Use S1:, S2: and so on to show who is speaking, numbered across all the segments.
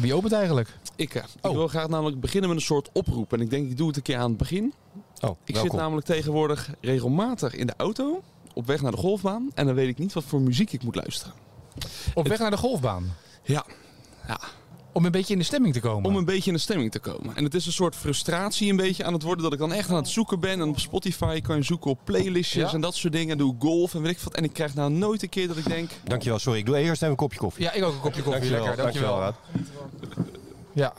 S1: Wie opent eigenlijk?
S2: Ik, eh, ik
S1: Oh.
S2: wil graag namelijk beginnen met een soort oproep. En ik denk, ik doe het een keer aan het begin.
S1: Oh,
S2: Ik zit namelijk tegenwoordig regelmatig in de auto op weg naar de golfbaan. En dan weet ik niet wat voor muziek ik moet luisteren.
S1: Op weg naar de golfbaan.
S2: Ja. ja.
S1: Om een beetje in de stemming te
S3: Nou.
S1: komen.
S2: Om een beetje in de stemming te komen. En het is een soort frustratie een beetje aan het worden dat ik dan echt aan het zoeken ben. En op Spotify kan je zoeken op playlistjes
S1: Ja.
S2: en dat soort dingen. En doe ik golf en weet ik wat. En ik krijg nou nooit een keer dat ik denk,
S3: Dankjewel, sorry. Ik doe eerst even een kopje koffie.
S1: Ja, ik ook een kopje koffie. lekker, dankjewel.
S3: Raad.
S1: Ja.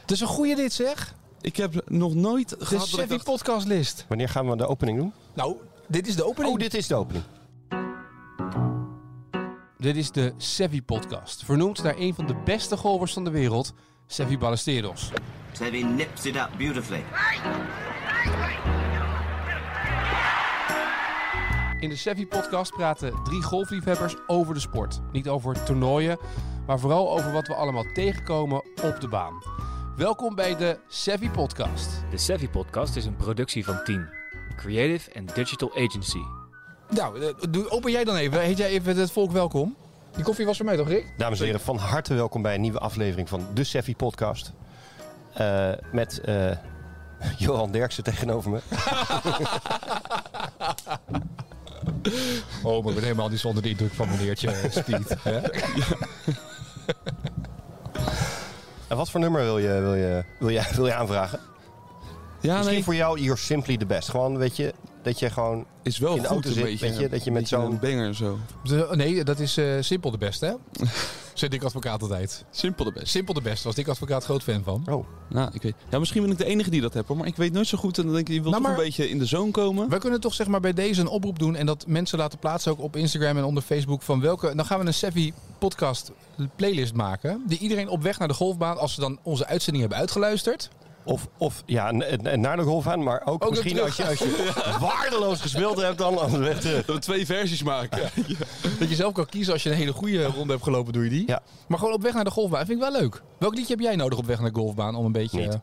S1: Het is een goede dit zeg.
S2: ik heb nog nooit
S1: De
S2: gehad dat ik
S1: Sevi
S2: dacht,
S1: podcastlist.
S3: Wanneer gaan we de opening doen?
S1: Nou, dit is de opening.
S3: Oh, dit is de opening.
S1: Dit is de Sevi podcast. Vernoemd naar een van de beste golfers van de wereld, Sevi Ballesteros.
S4: Seve nips it up beautifully.
S1: In de Sevi podcast praten drie golfliefhebbers over de sport. Niet over toernooien, maar vooral over wat we allemaal tegenkomen op de baan. Welkom bij de Sevi podcast.
S5: De Sevi Podcast is een productie van Team, Creative and Digital Agency.
S1: Nou, eh, doe- open jij dan even. Heet jij even het volk welkom? Die koffie was voor mij toch, Rick?
S3: Dames en heren, van harte welkom bij een nieuwe aflevering van de Seffi Podcast. Eh, met eh, Johan Derksen tegenover me.
S1: Oh, maar ik ben helemaal niet zonder de indruk van meneertje Speed.
S3: En wat voor nummer wil je, wil je, wil je, wil je aanvragen?
S2: ja
S3: Misschien
S2: nee,
S3: voor jou, you're simply the best. Gewoon, weet je, dat je gewoon...
S2: is wel
S3: in de
S2: goed
S3: auto
S2: een
S3: zit,
S2: beetje.
S3: weet je, dat je met
S2: beetje
S3: zo'n-
S2: Een banger zo.
S1: nee, dat is eh, simpel de beste, hè? Zit ik advocaat altijd.
S2: Simpel de best.
S1: Simpel de beste, was ik advocaat groot fan van.
S3: Oh,
S2: Nou, ik weet, ja, misschien ben ik de enige die dat heb, hoor, maar ik weet nooit zo goed. En dan denk ik, je wilt
S1: Nou,
S2: toch
S1: maar-
S2: een beetje in de zone komen.
S1: We kunnen toch zeg maar bij deze een oproep doen en dat mensen laten plaatsen ook op Instagram en onder Facebook van welke. Dan gaan we een Sevi podcast playlist maken die iedereen op weg naar de golfbaan als ze dan onze uitzending hebben uitgeluisterd.
S3: Of, of ja, n- n- naar de golf aan, maar ook,
S1: weer
S3: misschien
S1: terug.
S3: als je, als je waardeloos gespeeld hebt, dan aan de weg terug.
S2: Dat we twee versies maken.
S1: Dat je zelf kan kiezen als je een hele goede ronde hebt gelopen, doe je die.
S3: Ja.
S1: Maar gewoon op weg naar de golfbaan vind ik wel leuk. Welk liedje heb jij nodig op weg naar de golfbaan om een beetje
S3: Niet.
S1: eh,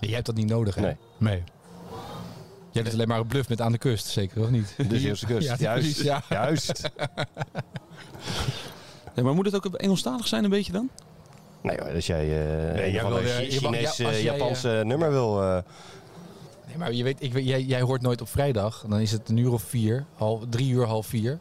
S1: jij hebt dat niet nodig hè?
S3: Nee.
S1: Jij doet alleen maar een bluff met aan de kust, zeker of niet?
S3: Dus De Zeeuwse kust,
S1: Ja,
S3: juist.
S1: precies, ja.
S3: Juist.
S2: Ja, maar moet het ook Engelstalig zijn een beetje dan?
S3: Nee hoor, als jij eh
S1: Nee,
S3: een
S1: jij
S3: van
S1: wil,
S3: de
S1: eh,
S3: Chi-
S1: je mag- ja,
S3: Chinese,
S1: als jij, eh,
S3: Japanse nummer wil... eh,
S1: Nee, maar je weet, ik, weet- jij, jij hoort nooit op vrijdag. Dan is het een uur of vier, half, drie uur, half vier.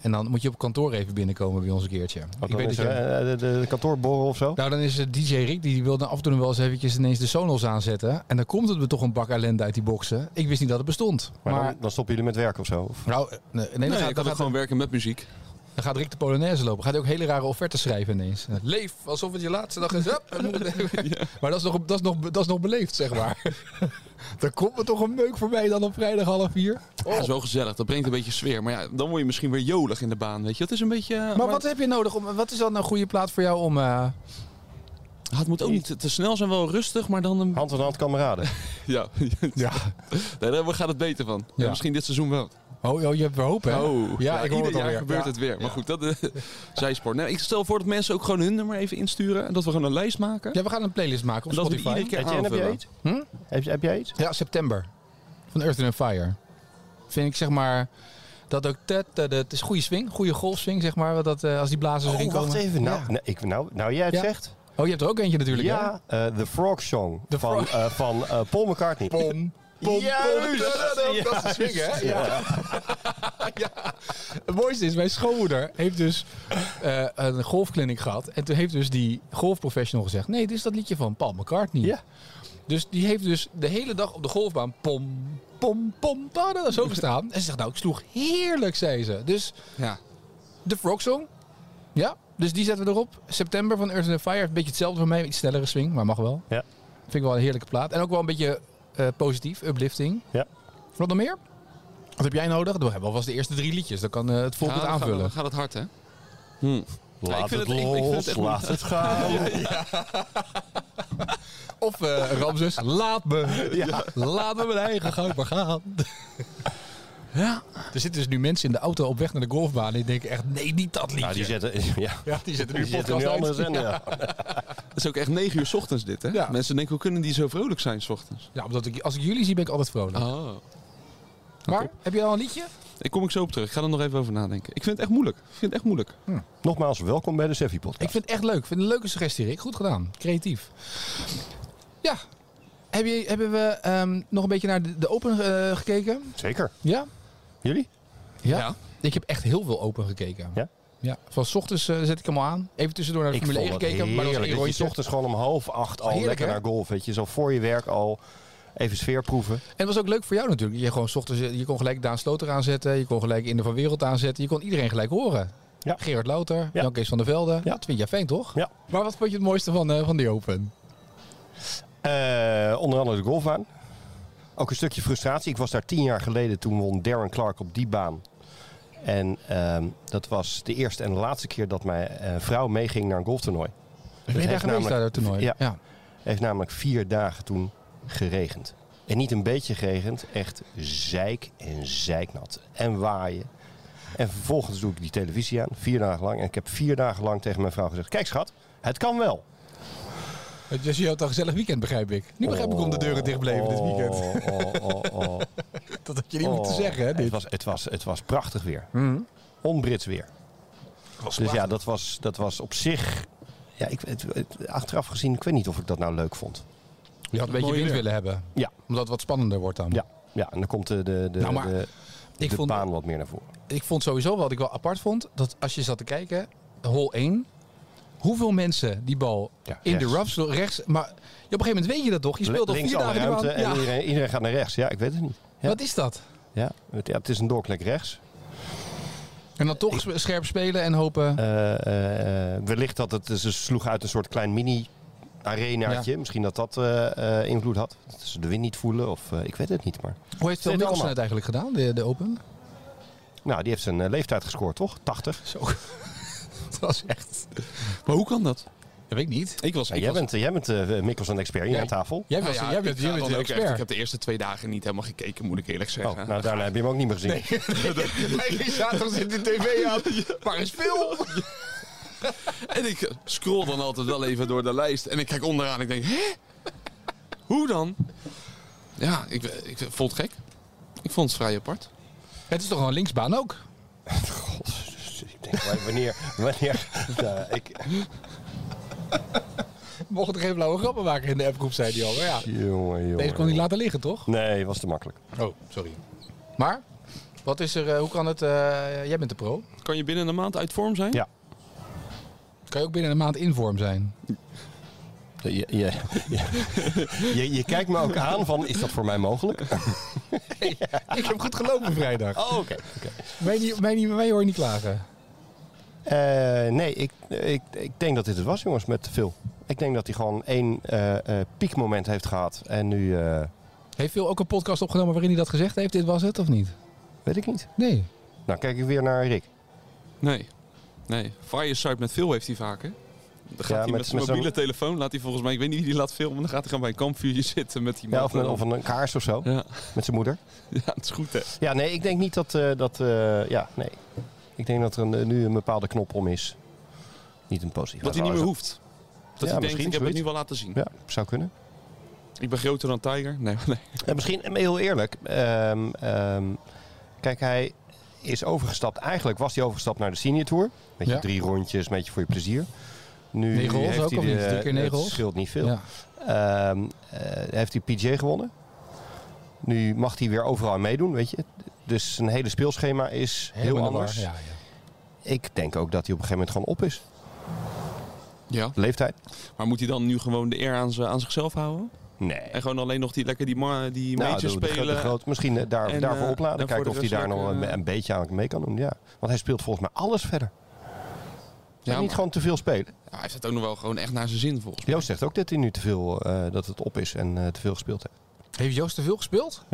S1: En dan moet je op kantoor even binnenkomen bij ons een keertje. ik
S3: wat dan
S1: weet
S3: is
S1: dat jij-
S3: er, eh, de, de, de kantoorborrel of zo?
S1: Nou, dan is het DJ Rick, die wil dan af en toe nog wel eens eventjes ineens de Sonos aanzetten. En dan komt het me toch een bak ellende uit die boxen. Ik wist niet dat het bestond. Maar,
S3: maar dan, dan stoppen jullie met werk of zo? Of-
S1: nou, eh, nee, nee, dan,
S2: Nee,
S1: gaat,
S2: ik kan
S1: dan,
S2: ook
S1: gaat,
S2: gewoon werken met muziek.
S1: dan gaat Rick de Polonaise lopen. Gaat hij ook hele rare offerten schrijven ineens. Leef, alsof het je laatste dag is. Hup, we moeten- Maar dat is, nog, dat, is nog, dat is nog beleefd, zeg maar. dan komt er toch een meuk voor mij dan op vrijdag half vier.
S2: Ja, dat is wel gezellig. Dat brengt een beetje sfeer. Maar ja, dan word je misschien weer jolig in de baan, weet je. Dat is een beetje... eh,
S1: Maar wat heb je nodig om. Wat is dan een goede plaat voor jou om. eh,
S2: Ah, het moet ook niet te snel zijn, wel rustig, maar dan...
S1: Oh.
S2: Een...
S3: Hand aan hand kameraden.
S2: Ja, ja. Nee, daar gaat het beter van. Ja,
S1: Ja.
S2: misschien dit seizoen wel.
S1: Oh, oh, je hebt weer hoop, hè?
S2: Oh,
S1: ja, ik hoor
S2: ieder
S1: het
S2: jaar
S1: alweer.
S2: gebeurt
S1: Ja.
S2: het weer. Maar goed, dat eh, zijspoor. Nee, ik stel voor dat mensen ook gewoon hun nummer even insturen. En dat we gewoon een lijst maken.
S1: Ja, we gaan een playlist maken op
S2: En dat we
S1: Spotify.
S2: iedere keer
S3: Heb jij, heb jij
S2: aanvullen.
S3: iets? Heb, je- heb jij iets?
S1: Ja, september. Van Earth and Fire. Vind ik zeg maar. Dat ook. Te, te- te- het is goede swing, goede golfswing, zeg maar. Dat, eh, als die blazers erin
S3: Oh,
S1: komen.
S3: wacht even. Nou,
S1: Ja.
S3: nou, ik, nou, nou jij het
S1: Ja.
S3: zegt.
S1: Oh, je hebt er ook eentje natuurlijk.
S3: Ja, eh, The Frog Song
S1: The
S3: van, eh, van eh, Paul McCartney.
S1: hè? Pom. Pom, pom, da, da, da, Dat is de swing, hè? Ja. Ja. Het mooiste is, mijn schoonmoeder heeft dus eh, een golfclinic gehad. En toen heeft dus die golfprofessional gezegd... Nee, dit is dat liedje van Paul McCartney.
S3: Ja.
S1: Dus die heeft dus de hele dag op de golfbaan... Pom, pom, pom, da, da, zo gestaan. En ze zegt, nou, ik sloeg heerlijk, zei ze. Dus
S2: Ja.
S1: de Frog Song. Ja, dus die zetten we erop. September van Earth and Fire. Een beetje hetzelfde voor mij. Iets snellere swing, maar mag wel.
S3: Ja.
S1: Vind ik wel een heerlijke plaat. En ook wel een beetje eh, positief, uplifting.
S3: Ja.
S1: Wat nog meer? Wat heb jij nodig? We hebben alvast de eerste drie liedjes. Dan kan eh, het volk
S2: Ja,
S1: het
S2: dan gaat-
S1: aanvullen.
S2: Dan gaat het hard, hè? Ja, ik
S3: Laat
S2: vind
S3: het
S2: het- ik- ik vind het
S3: los,
S2: echt niet.
S3: laat het gaan.
S1: Of eh Ramses, laat me. Laat me mijn eigen gang maar gaan.
S2: Ja.
S1: Er zitten dus nu mensen in de auto op weg naar de golfbaan. En die denken echt, nee, niet dat liedje.
S3: Nou, die zetten... Ja.
S1: ja, die zetten nu
S3: Die
S1: een
S3: zetten nu
S1: podcast
S3: andere
S1: uit.
S3: zender.
S1: Ja.
S3: ja.
S2: Het is ook echt 9 uur 's ochtends dit, hè?
S1: Ja.
S2: Mensen denken, hoe kunnen die zo vrolijk zijn 's ochtends?
S3: Ah,
S1: Ja, omdat ik, als ik jullie zie ben ik altijd vrolijk.
S2: Oh.
S1: maar, heb je al een liedje?
S2: Ik kom ik zo op terug. Ik ga er nog even over nadenken. Ik vind het echt moeilijk. Ik vind het echt moeilijk.
S3: Nogmaals, welkom bij de Seffi
S1: Ik
S3: Podcast.
S1: vind het echt leuk. Ik vind het een leuke suggestie, Rick. Goed gedaan. Creatief. Ja. Heb je, hebben we ehm, nog een beetje naar de, de open eh, gekeken?
S3: Zeker.
S1: Ja?
S3: Jullie?
S1: ja? Ik heb echt heel veel open gekeken.
S3: Ja?
S1: Ja. Van 's ochtends eh, zet ik hem al aan. Even tussendoor naar de
S3: ik
S1: Formule 1
S3: vond het
S1: gekeken. maar dat was één
S3: heerlijk dat je
S1: rondje.
S3: 's ochtends gewoon om half acht al
S1: Heerlijk,
S3: lekker
S1: hè?
S3: naar golf. Weet je, zo voor je werk al even sfeer proeven.
S1: En het was ook leuk voor jou natuurlijk. Je, gewoon 's ochtends, eh, je kon gelijk Daan Sloter aanzetten. Je kon gelijk Inder van Wereld aanzetten. Je kon iedereen gelijk horen.
S3: Ja.
S1: Gerard Louter,
S3: Ja.
S1: Jan Kees van der Velde.
S3: Ja.
S1: Dat vind jij fijn, toch?
S3: Ja.
S1: Maar wat vond je het mooiste van, eh, van die Open?
S3: Eh, onder andere de golfbaan. Ook een stukje frustratie. Ik was daar tien jaar geleden toen won Darren Clark op die baan. En ehm, dat was de eerste en de laatste keer dat mijn eh, vrouw meeging naar een golftoernooi.
S1: Ben je daar
S3: heeft
S1: geweest, daar, dat
S3: namelijk-
S1: toernooi?
S3: Ja. Het heeft namelijk vier dagen toen geregend. En niet een beetje geregend, echt zeik en zeiknat. En waaien. En vervolgens doe ik die televisie aan, vier dagen lang. En ik heb vier dagen lang tegen mijn vrouw gezegd... Kijk schat, het kan wel.
S1: Het was je had een gezellig weekend, begrijp ik. Nu begrijp ik om de deuren dicht bleven dit weekend.
S3: Oh, oh, oh, oh.
S1: Dat had je niet moeten
S3: Oh.
S1: zeggen, hè?
S3: Het
S1: Dit.
S3: was, het, was, het was prachtig weer.
S1: Hmm.
S3: On-Brits weer.
S1: was
S3: dus ja, dat was, dat was op zich... Ja, ik, het, het- achteraf gezien, ik weet niet of ik dat nou leuk vond.
S1: Je had een beetje
S2: Mooi
S1: wind
S2: weer.
S1: willen hebben.
S3: Ja.
S1: Omdat het wat spannender wordt dan.
S3: Ja, ja en dan komt de, de, de,
S1: Nou, maar
S3: de,
S1: ik
S3: de
S1: vond-
S3: baan wat meer naar voren.
S1: Ik vond sowieso wat ik wel apart vond. Dat als je zat te kijken, hole 1. Hoeveel mensen die bal
S3: Ja,
S1: in de
S3: rechts.
S1: roughs, rechts. Maar ja, op een gegeven moment weet je dat toch? Je speelt al
S3: Links
S1: vier
S3: alle
S1: dagen
S3: ruimte
S1: die baan.
S3: en
S1: Ja.
S3: iedereen, iedereen gaat naar rechts. Ja, ik weet het niet. Ja.
S1: Wat is dat?
S3: Ja, het, ja, het is een doorklik rechts.
S1: En dan toch sp- scherp spelen en hopen.
S3: Eh, eh, eh, wellicht dat het, ze sloeg uit een soort klein mini-arenaatje. Misschien dat dat eh, eh, invloed had. Dat ze de wind niet voelen of eh, ik weet het niet. Maar...
S1: Hoe heeft Phil
S3: dit
S1: Mickelson
S3: allemaal?
S1: het eigenlijk gedaan, de, de Open?
S3: Nou, die heeft zijn eh, leeftijd gescoord, toch? 80.
S1: Zo. dat was echt...
S2: Maar hoe kan dat?
S1: Dat weet ik niet.
S2: Ik was...
S3: Ja,
S2: ik
S3: jij,
S2: was-
S3: bent, jij bent eh, Mikkelsen expert hier
S1: Nee.
S3: aan tafel.
S1: Jij,
S2: Nou
S1: was,
S2: ja,
S1: jij bent,
S2: ik-
S1: jij
S2: ja,
S1: bent
S2: dan
S1: de
S2: ook echt. Ik
S1: expert.
S2: heb de eerste twee dagen niet helemaal gekeken, moet ik eerlijk
S3: Oh,
S2: zeggen.
S3: nou, daarna heb je hem ook niet meer gezien.
S1: nou, Nee, zaterdag zit de tv aan. Waar is Phil?
S2: En ik scroll dan altijd wel even door de lijst. En ik kijk onderaan en ik denk, hè? Hoe dan? Ja, ik, ik vond het gek. Ik vond het vrij apart.
S1: Het is toch gewoon linksbaan ook?
S3: God, ik denk, maar wanneer... wanneer nou, ik,
S1: Mocht er geen blauwe grappen maken in de appgroep, zei hij al. Maar ja,
S3: jongen, jongen.
S1: deze kon hij laten liggen, toch?
S3: Nee, was te makkelijk.
S1: Oh, sorry. Maar, wat is er, eh, hoe kan het, eh, jij bent de pro.
S2: Kan je binnen een maand uit vorm zijn?
S3: Ja.
S1: Kan je ook binnen een maand in vorm zijn?
S3: Je, je, je- je, je kijkt me ook aan van, is dat voor mij mogelijk?
S1: Ik heb goed gelopen vrijdag.
S3: Oh, oké. oké.
S1: Mij, niet- mij, niet- mij hoor je niet klagen.
S3: Eh, nee, ik, ik, ik denk dat dit het was, jongens, met Phil. Ik denk dat hij gewoon één eh, eh, piekmoment heeft gehad. En nu, eh,
S1: Heeft Phil ook een podcast opgenomen waarin hij dat gezegd heeft? Dit was het, of niet?
S3: weet ik niet.
S1: Nee.
S3: Nou, kijk ik weer naar Rick.
S2: Nee. Nee. Fireside met Phil heeft hij vaker. Dan gaat
S3: Ja,
S2: hij
S3: met-
S2: met zijn
S3: met
S2: mobiele
S3: zo'n-
S2: telefoon, laat hij volgens mij, ik weet niet wie die laat filmen, dan gaat hij gewoon bij een kampvuurtje zitten met die
S3: Ja,
S2: man.
S3: of, met, of een kaars of zo,
S2: Ja,
S3: met zijn moeder.
S2: ja, het is goed hè.
S3: Ja, nee, ik denk niet dat... eh, dat eh, ja, nee. Ik denk dat er een- nu een bepaalde knop om is. Niet een positieve.
S2: Dat hij niet meer hoeft. Dat
S3: Ja,
S2: hij denkt,
S3: misschien,
S2: ik heb het
S3: zoiets.
S2: nu wel laten zien.
S3: Ja, zou kunnen.
S2: Ik ben groter dan Tiger. Nee, nee.
S3: En misschien en heel eerlijk. ehm, ehm, kijk, hij is overgestapt. Eigenlijk was hij overgestapt naar de senior tour. Met je
S1: Ja.
S3: drie rondjes, met je voor je plezier. Nu
S1: Negen holes
S3: heeft
S1: ook,
S3: hij
S1: of
S3: de-
S1: niet? Drie keer negen
S3: het
S1: holes?
S3: scheelt niet veel.
S1: Ja.
S3: Ehm, eh, heeft hij PJ gewonnen. Nu mag hij weer overal aan meedoen, weet je. Dus zijn hele speelschema is heel
S1: Helemaal
S3: anders.
S1: waar, Ja, ja.
S3: Ik denk ook dat hij op een gegeven moment gewoon op is.
S2: Ja.
S3: De leeftijd?
S2: Maar moet hij dan nu gewoon de eer aan, z- aan zichzelf houden?
S3: Nee.
S2: En gewoon alleen nog die lekker die, ma- die
S3: Nou,
S2: majors
S3: de- de gro-
S2: spelen?
S3: de groot- misschien eh, daar,
S2: En,
S3: daarvoor
S2: eh,
S3: opladen.
S2: en
S3: Kijken
S2: voor
S3: of
S2: de
S3: hij daar
S2: rest
S3: nog
S2: lekker,
S3: een,
S2: eh,
S3: een beetje aan mee kan doen. Ja. Want hij speelt volgens mij alles verder.
S2: ja,
S3: Ja, niet
S2: maar-
S3: gewoon te veel spelen.
S2: Ja, hij heeft het ook nog wel gewoon echt naar zijn zin volgens mij.
S3: Joost zegt ook dat hij nu te veel eh, dat het op is en eh, te veel gespeeld heeft.
S1: Heeft Joost te veel gespeeld?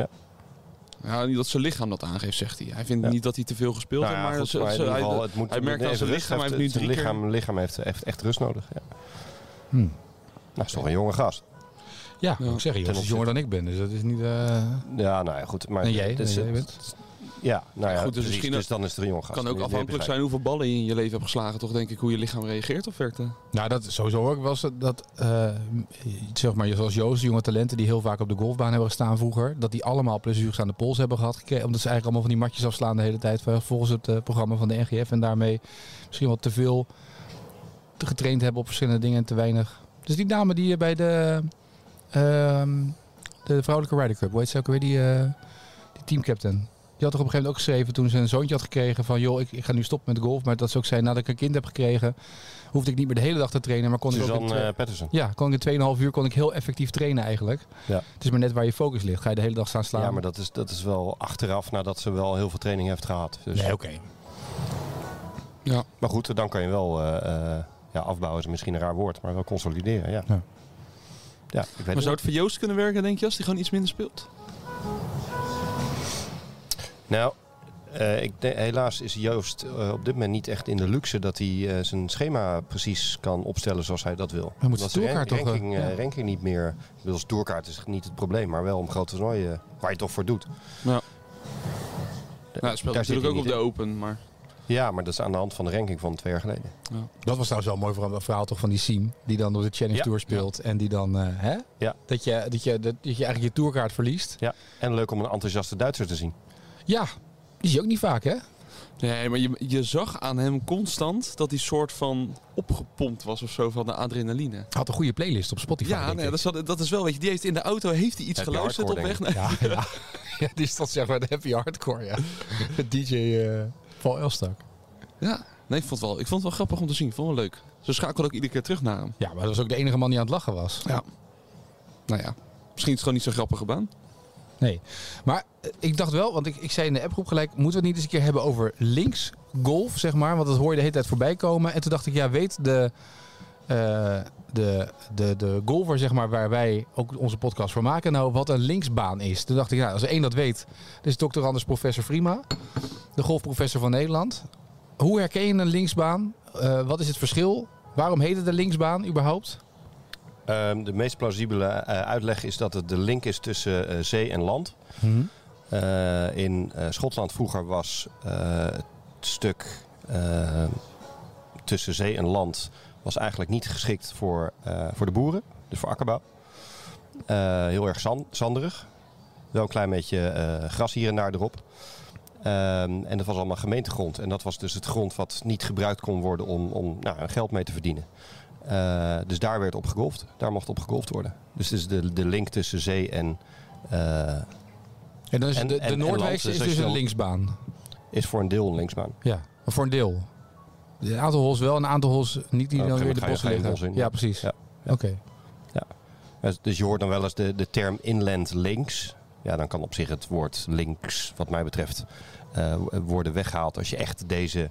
S2: Ja, niet dat zijn lichaam dat aangeeft, zegt hij. Hij vindt
S3: Ja.
S2: niet dat hij te veel gespeeld
S3: Nou ja,
S2: heeft, maar,
S3: goed,
S2: ze-
S3: in
S2: ze-
S3: ieder
S2: hij,
S3: geval, het moet-
S2: hij merkt
S3: moet
S2: aan zijn
S3: even
S2: lichaam, hij
S3: rust.
S2: heeft nu
S3: Het-
S2: drie
S3: zijn
S2: lichaam.
S3: lichaam, lichaam heeft echt, echt rust nodig. Ja.
S1: Hmm.
S3: Nou, is toch een jonge gast.
S1: Ja,
S2: Ja.
S1: moet ik zeggen, Joost is
S3: opzichte-
S1: jonger dan ik ben. Dus dat is niet... eh,
S3: Ja, nou ja, goed. Maar
S1: en jij?
S3: het is-
S1: en jij bent?
S3: Ja, nou ja,
S2: Goed, dus
S3: precies.
S2: misschien
S3: dus
S2: ook-
S3: dan is het er een jongen gast.
S2: kan ook
S3: Nee, nee,
S2: afhankelijk
S3: begrijp
S2: zijn hoeveel ballen je in je leven hebt geslagen. Toch denk ik hoe je lichaam reageert op verte.
S1: Nou, dat sowieso ook was het dat, eh, zeg maar, zoals Joost, jonge talenten die heel vaak op de golfbaan hebben gestaan vroeger, dat die allemaal plezier aan de pols hebben gehad gekregen, omdat ze eigenlijk allemaal van die matjes afslaan de hele tijd volgens het eh, programma van de NGF en daarmee misschien wat te veel te getraind hebben op verschillende dingen en te weinig. Dus die dame die eh, bij de, ehm, de vrouwelijke Ryder Cup, hoe heet ze ook weer, die, eh, die teamcaptain. Die had toch op een gegeven moment ook geschreven toen ze een zoontje had gekregen van joh, ik, ik ga nu stoppen met golf. Maar dat ze ook zei, nadat ik een kind heb gekregen, hoefde ik niet meer de hele dag te trainen. Maar kon
S3: ik.
S1: ik ook in twee-
S3: Suzanne eh, Patterson.
S1: ja, kon ik in 2,5 uur kon ik heel effectief trainen eigenlijk.
S3: Ja.
S1: Het is maar net waar je focus ligt. Ga je de hele dag staan slaan.
S3: Ja, maar dat is, dat is wel achteraf nadat ze wel heel veel training heeft gehad. Dus.
S1: Nee, oké.
S2: Ja.
S3: Maar goed, dan kan je wel eh, eh, ja, afbouwen, is misschien een raar woord, maar wel consolideren. Ja,
S1: Ja.
S3: ja. ik weet
S2: Maar
S3: het
S2: zou het voor Joost kunnen werken, denk je, als hij gewoon iets minder speelt?
S3: Nou, eh, ik denk- helaas is Joost eh, op dit moment niet echt in de luxe dat hij eh, zijn schema precies kan opstellen zoals hij dat wil.
S1: Hij moet
S3: Omdat
S1: zijn
S3: ran-
S1: tourkaart toch, eh,
S3: ranking, eh,
S1: ja.
S3: ranking niet meer. Ik bedoel, zijn tourkaart is niet het probleem, maar wel om grote toernooien eh, waar je toch voor doet.
S2: Ja.
S3: Da-
S2: Ja, hij Nou, speelt
S3: daar zit
S2: natuurlijk ook
S3: hij
S2: op de
S3: niet
S2: open, maar...
S3: in. Ja, maar dat is aan de hand van de ranking van twee jaar geleden.
S1: Dat was trouwens wel een mooi verhaal, een verhaal toch van die Siem. Die dan door de Challenge
S3: Ja.
S1: Tour speelt. En die dan, eh, hè?
S3: Ja.
S1: Dat, je, dat, je, dat, dat je eigenlijk je tourkaart verliest.
S3: Ja. En leuk om een enthousiaste Duitser te zien.
S1: Ja, die zie je ook niet vaak hè.
S2: Nee, maar je, je zag aan hem constant dat hij soort van opgepompt was of zo van de adrenaline.
S1: Had een goede playlist op Spotify
S2: Ja,
S1: denk
S2: nee,
S1: ik.
S2: dat, is, wel- dat is wel, weet je, die heeft in de auto heeft hij iets
S3: Heb je
S2: geluisterd op
S3: hardcore,
S2: weg naar...
S1: Ja, ja. ja, die stond zeg maar de happy hardcore ja. Met DJ eh, Paul Elstak.
S2: Ja, nee, ik vond, het wel, ik vond het wel grappig om te zien, ik vond het wel leuk. Ze schakelde ook iedere keer terug naar hem.
S1: Ja, maar dat was ook de enige man die aan het lachen was.
S2: Ja. Nou ja, misschien is het gewoon niet zo'n grappige baan.
S1: Nee. Maar eh, ik dacht wel, want ik, ik zei in de appgroep gelijk... moeten we het niet eens een keer hebben over links golf, zeg maar? Want dat hoor je de hele tijd voorbij komen. En toen dacht ik, ja, weet de, eh, de, de, de golfer, zeg maar... waar wij ook onze podcast voor maken, nou, wat een linksbaan is. Toen dacht ik, ja, als er één dat weet... dat is dokter Anders professor Vrima. De golfprofessor van Nederland. Hoe herken je een linksbaan? Eh, wat is het verschil? Waarom heet het een linksbaan überhaupt?
S3: Ehm, de meest plausibele eh, uitleg is dat het de link is tussen eh, zee en land. Eh, in eh, Schotland vroeger was eh, het stuk eh, tussen zee en land was eigenlijk niet geschikt voor, eh, voor de boeren, dus voor akkerbouw. Eh, heel erg zand, zanderig. Wel een klein beetje eh, gras hier en daar erop. Ehm, en dat was allemaal gemeentegrond. En dat was dus het grond wat niet gebruikt kon worden om, om nou, geld mee te verdienen. Eh, dus daar werd op gegolfd. Daar mocht op gegolfd worden. Dus het is de, de link tussen zee en... eh,
S1: En dan is
S3: En-
S1: de, de
S3: en- en land,
S1: Noordwijkse
S3: dus
S1: is
S3: als
S1: dus
S3: je
S1: een
S3: dan-
S1: linksbaan.
S3: is voor een deel een linksbaan.
S1: Ja, maar voor een deel. Een aantal hols wel, een aantal hols niet die
S3: Op een
S1: dan
S3: gegeven
S1: weer de
S3: moment
S1: bossen
S3: ga je- ga je
S1: liggen.
S3: bos in,
S1: ja,
S3: ja.
S1: precies.
S3: Ja,
S1: Oké.
S3: Ja, Dus je hoort dan wel eens de, de term inland links. Ja, dan kan op zich het woord links, wat mij betreft, eh, worden weggehaald als je echt deze,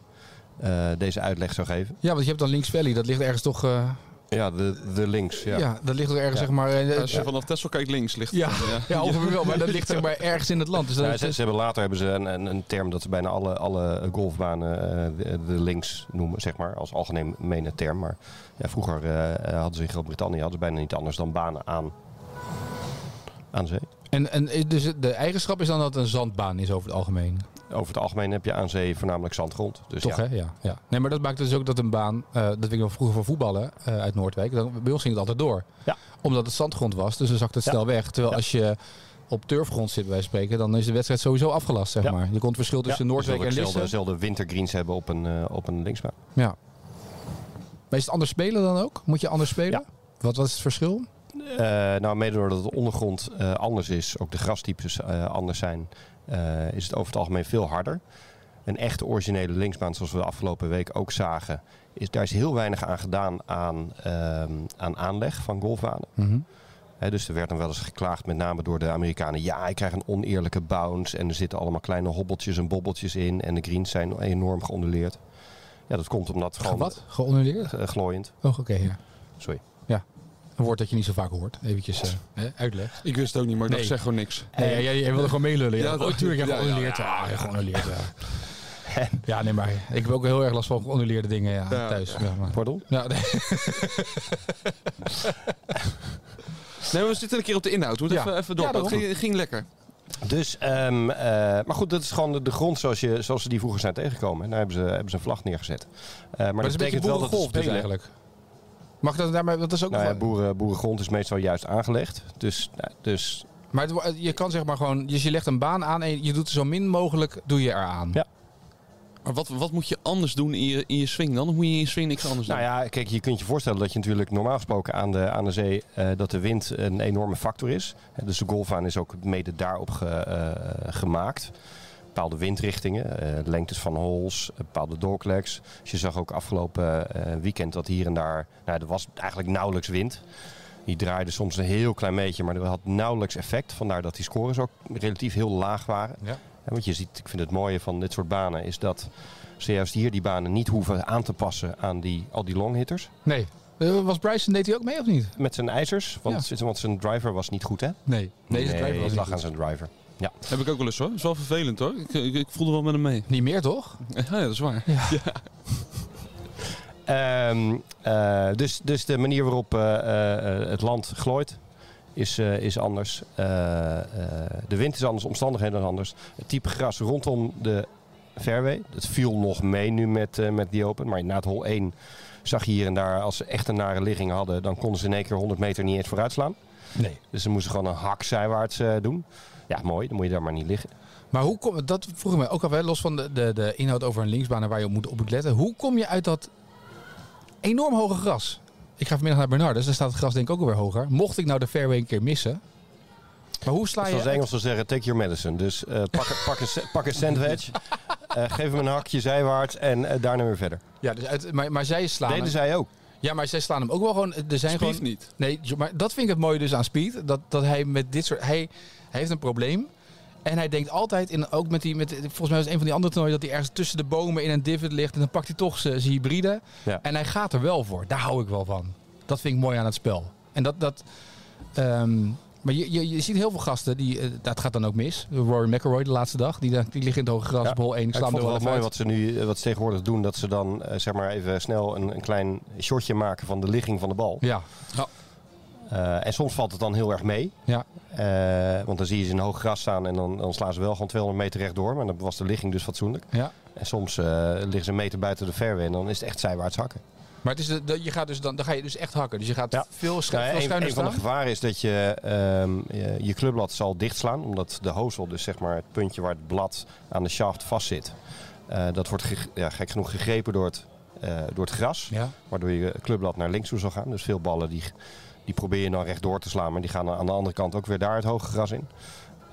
S3: eh, deze uitleg zou geven.
S1: Ja, want je hebt dan Links Valley, dat ligt ergens toch. eh,
S3: Ja, de, de links. Ja.
S1: ja. dat ligt toch ergens,
S3: Ja.
S1: zeg maar. eh,
S2: Als je
S1: ja.
S2: vanaf Tesla kijkt links ligt
S1: Ja,
S2: het dan,
S1: ja. over wel, maar dat ligt zeg maar ergens in het land. Dus dat
S3: Nou,
S1: is-
S3: ze, ze hebben later hebben ze een, een, een term dat ze bijna alle, alle golfbanen eh, de, de links noemen, zeg maar, als algemene term. Maar ja, vroeger eh, hadden ze in Groot-Brittannië hadden ze bijna niet anders dan banen aan, aan zee.
S1: en, en is dus de eigenschap is dan dat het een zandbaan is over het algemeen.
S3: Over het algemeen heb je aan zee voornamelijk zandgrond. Dus
S1: Toch,
S3: ja,
S1: hè? Ja, ja. Nee, maar dat maakt dus ook dat een baan, eh, dat weet ik nog vroeger van voetballen eh, uit Noordwijk, dan, bij ons ging het altijd door.
S3: Ja.
S1: Omdat het zandgrond was, dus dan zakt het
S3: Ja.
S1: snel weg. Terwijl
S3: Ja.
S1: als je op turfgrond zit, bij wijze van spreken, dan is de wedstrijd sowieso afgelast, zeg
S3: Ja.
S1: maar. Je kon het verschil tussen
S3: Ja,
S1: Noordwijk
S3: dus
S1: en
S3: dat ook
S1: Lisse.
S3: zelden, zelden wintergreens hebben op een, eh, op een linksbaan.
S1: Ja. Maar is het anders spelen dan ook? Moet je anders spelen?
S3: Ja.
S1: Wat, wat is het verschil?
S3: Eh, nou, mede doordat de ondergrond eh, anders is, ook de grastypes eh, anders zijn, eh, is het over het algemeen veel harder. Een echte originele linksbaan, zoals we de afgelopen week ook zagen, is, daar is heel weinig aan gedaan aan, ehm, aan aanleg van golfbanen. Hè, dus er werd dan wel eens geklaagd, met name door de Amerikanen. Ja, ik krijg een oneerlijke bounce en er zitten allemaal kleine hobbeltjes en bobbeltjes in en de greens zijn enorm geonduleerd. Ja, dat komt omdat gewoon
S1: Wat? Geonnuleerd?
S3: eh, glooiend.
S1: Oh, oké. ja.
S3: Sorry.
S1: Een woord dat je niet zo vaak hoort. Eventjes eh, hè, uitleg.
S2: Ik wist het ook niet, maar ik
S1: Nee.
S2: dacht, zeg gewoon niks.
S1: Nee, jij, jij wilde gewoon meelullen. Ja,
S2: Ja, dat-
S1: oh, tuurlijk, ja,
S2: ja, ja.
S1: geannuleerd. Ja, ja, geannuleerd, ja. ja, nee, maar ik heb ook heel erg last van geannuleerde dingen ja,
S2: Ja.
S1: thuis. Ja, maar.
S3: Pardon?
S1: Ja, nee.
S2: Nee, maar we zitten een keer op de inhoud. We moeten
S1: Ja.
S2: even, even door.
S1: Ja,
S2: het
S1: daarom.
S2: ging, ging lekker.
S3: Dus, ehm, eh, maar goed, dat is gewoon de, de grond zoals, je, zoals ze die vroeger zijn tegengekomen. En daar hebben ze, hebben ze een vlag neergezet. Eh, maar,
S1: Maar
S3: dat
S1: dat is een beetje
S3: betekent wel dat de
S1: boerengolf dus
S3: spelen...
S1: eigenlijk. Mag ik dat daarmee? Dat is ook
S3: Nou
S1: nog
S3: ja,
S1: wel-
S3: boeren, boerengrond is meestal juist aangelegd. Dus, nou, dus
S1: Maar het wo- eh, je kan zeg maar gewoon, dus je legt een baan aan en je doet er zo min mogelijk, doe je eraan.
S3: Ja.
S2: Maar wat, wat moet je anders doen in je, in je swing dan? Of moet je in je swing niks anders doen?
S3: Nou ja, kijk, je kunt je voorstellen dat je natuurlijk normaal gesproken aan de, aan de zee eh, dat de wind een enorme factor is. Eh, Dus de golfbaan is ook mede daarop ge- eh, gemaakt. Bepaalde windrichtingen, eh, lengtes van holes, eh, bepaalde doorklegs. Dus je zag ook afgelopen eh, weekend dat hier en daar, nou, er was eigenlijk nauwelijks wind. Die draaide soms een heel klein beetje, maar dat had nauwelijks effect. Vandaar dat die scores ook relatief heel laag waren.
S1: Ja.
S3: Hè, Want je ziet, ik vind het mooie van dit soort banen is dat ze juist hier die banen niet hoeven aan te passen aan die, al die longhitters.
S1: Nee. Eh, Was Bryson, deed hij ook mee of niet?
S3: Met zijn ijzers, want,
S1: Ja.
S3: want zijn driver was niet goed hè?
S1: Nee. Deze
S3: nee,
S1: driver was
S3: het
S1: niet,
S3: lag aan
S1: goed.
S3: zijn driver. Ja.
S2: Heb ik ook wel eens hoor. Dat is wel vervelend hoor. Ik, ik, ik voelde wel met hem mee.
S1: niet meer toch?
S2: Ja, ja, dat is waar.
S3: Ehm, eh, dus, dus de manier waarop eh, eh, eh, het land glooit is, eh, is anders. Eh, eh, de wind is anders, de omstandigheden zijn anders. Het type gras rondom de fairway, dat viel nog mee nu met, eh, met die open. Maar na het hol 1 zag je hier en daar, als ze echt een nare ligging hadden... dan konden ze in één keer 100 meter niet eens vooruit slaan.
S1: Nee.
S3: Dus ze moesten gewoon een hak zijwaarts eh, doen. Ja, mooi. Dan moet je daar maar niet liggen.
S1: Maar hoe kom, dat vroeg ik me ook al, hè, los van de, de, de inhoud over een linksbaan en waar je op moet, op moet letten. Hoe kom je uit dat enorm hoge gras? Ik ga vanmiddag naar Bernardus, daar staat het gras denk ik ook alweer hoger. Mocht ik nou de fairway een keer missen. Maar hoe sla
S3: Zoals de
S1: je...
S3: Engelsen zeggen, take your medicine. Dus eh, pak, een- pak, een, sa- pak een sandwich, eh, geef hem een hakje zijwaarts en eh, daarna weer verder.
S1: Ja, dus uit, maar, maar zij slaan
S3: Deden
S1: hem,
S3: zij ook.
S1: Ja, maar zij slaan hem ook wel gewoon... Er zijn
S2: Spief
S1: gewoon
S2: niet.
S1: Nee, Jo- maar dat vind ik het mooie dus aan Speed. Dat, dat hij met dit soort... Hij, hij heeft een probleem. En hij denkt altijd, in, ook met die... Met, volgens mij was het een van die andere toernooien... dat hij ergens tussen de bomen in een divot ligt... en dan pakt hij toch zijn zijn hybride.
S3: Ja.
S1: En hij gaat er wel voor. Daar hou ik wel van. Dat vind ik mooi aan het spel. En dat... dat ehm, maar je, je, je ziet heel veel gasten, die, eh, dat gaat dan ook mis. Rory McIlroy de laatste dag, die, dan- die liggen in het hoge gras,
S3: Ja.
S1: op hol 1,
S3: Ik vond
S1: slaan
S3: het
S1: er
S3: wel
S1: wel
S3: mooi
S1: mooi
S3: wat ze nu eh, wat ze tegenwoordig doen. Dat ze dan eh, zeg maar even snel een, een klein shotje maken van de ligging van de bal.
S1: Ja,
S3: Eh, en soms valt het dan heel erg mee.
S1: ja.
S3: Eh, want dan zie je ze in hoog gras staan en dan, dan slaan ze wel gewoon 200 meter rechtdoor. Maar dan was de ligging dus fatsoenlijk.
S1: ja.
S3: En soms eh, liggen ze een meter buiten de fairway en dan is het echt zijwaarts hakken.
S1: Maar het is de, de- je gaat dus dan, dan ga je dus echt hakken. Dus je gaat
S3: Ja.
S1: veel, schu-
S3: Nou ja,
S1: veel
S3: een,
S1: schuiner
S3: een van de
S1: staan.
S3: gevaren is dat je ehm, je, je clubblad zal dichtslaan, omdat de hozel, dus zeg maar het puntje waar het blad aan de shaft vastzit, eh, dat wordt ge- ja, gek genoeg gegrepen door het, eh, door het gras,
S1: Ja.
S3: waardoor je clubblad naar links toe zal gaan. Dus veel ballen die, die probeer je dan rechtdoor te slaan, maar die gaan dan aan de andere kant ook weer daar het hoge gras in.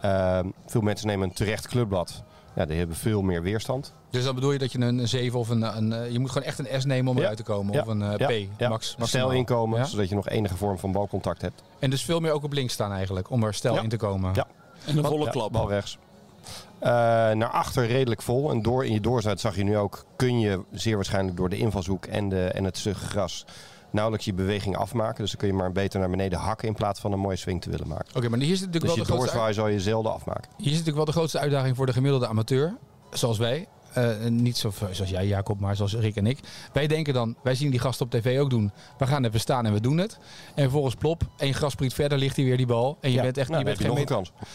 S3: Ehm, veel mensen nemen een terecht clubblad. Ja, die hebben veel meer weerstand.
S1: Dus dan bedoel je dat je een, een 7 of een, een, eh, Je moet gewoon echt een S nemen om
S3: Ja.
S1: eruit te komen.
S3: Ja.
S1: Of een eh,
S3: Ja.
S1: P,
S3: Ja.
S1: max.
S3: Stijl
S1: maximaal.
S3: inkomen,
S1: Ja.
S3: zodat je nog enige vorm van balcontact hebt.
S1: En dus veel meer ook op links staan eigenlijk. Om er stijl
S3: Ja.
S1: in te komen.
S3: Ja.
S2: En een volle
S3: Ja,
S2: klap.
S3: Bal rechts. Eh, naar achter redelijk vol. En door in je doorzuid zag je nu ook. Kun je zeer waarschijnlijk door de invalshoek en, de, en het sugge gras. nauwelijks je beweging afmaken. Dus dan kun je maar beter naar beneden hakken. in plaats van een mooie swing te willen maken.
S1: Oké, maar hier zit, natuurlijk
S3: Dus
S1: wel
S3: je
S1: de grootste, uit-
S3: doorzwaai zal je zelden afmaken.
S1: hier zit natuurlijk wel de grootste uitdaging voor de gemiddelde amateur. Zoals wij. Eh, niet zo, zoals jij, Jacob, maar zoals Rick en ik. Wij denken dan, wij zien die gasten op tv ook doen. We gaan even staan en we doen het. En vervolgens plop, één graspriet verder ligt hij weer die bal. En je
S3: Ja,
S1: bent echt
S3: nou,
S1: je
S3: dan
S1: bent
S3: heb
S1: geen
S3: je
S1: meter-
S3: nog een kans.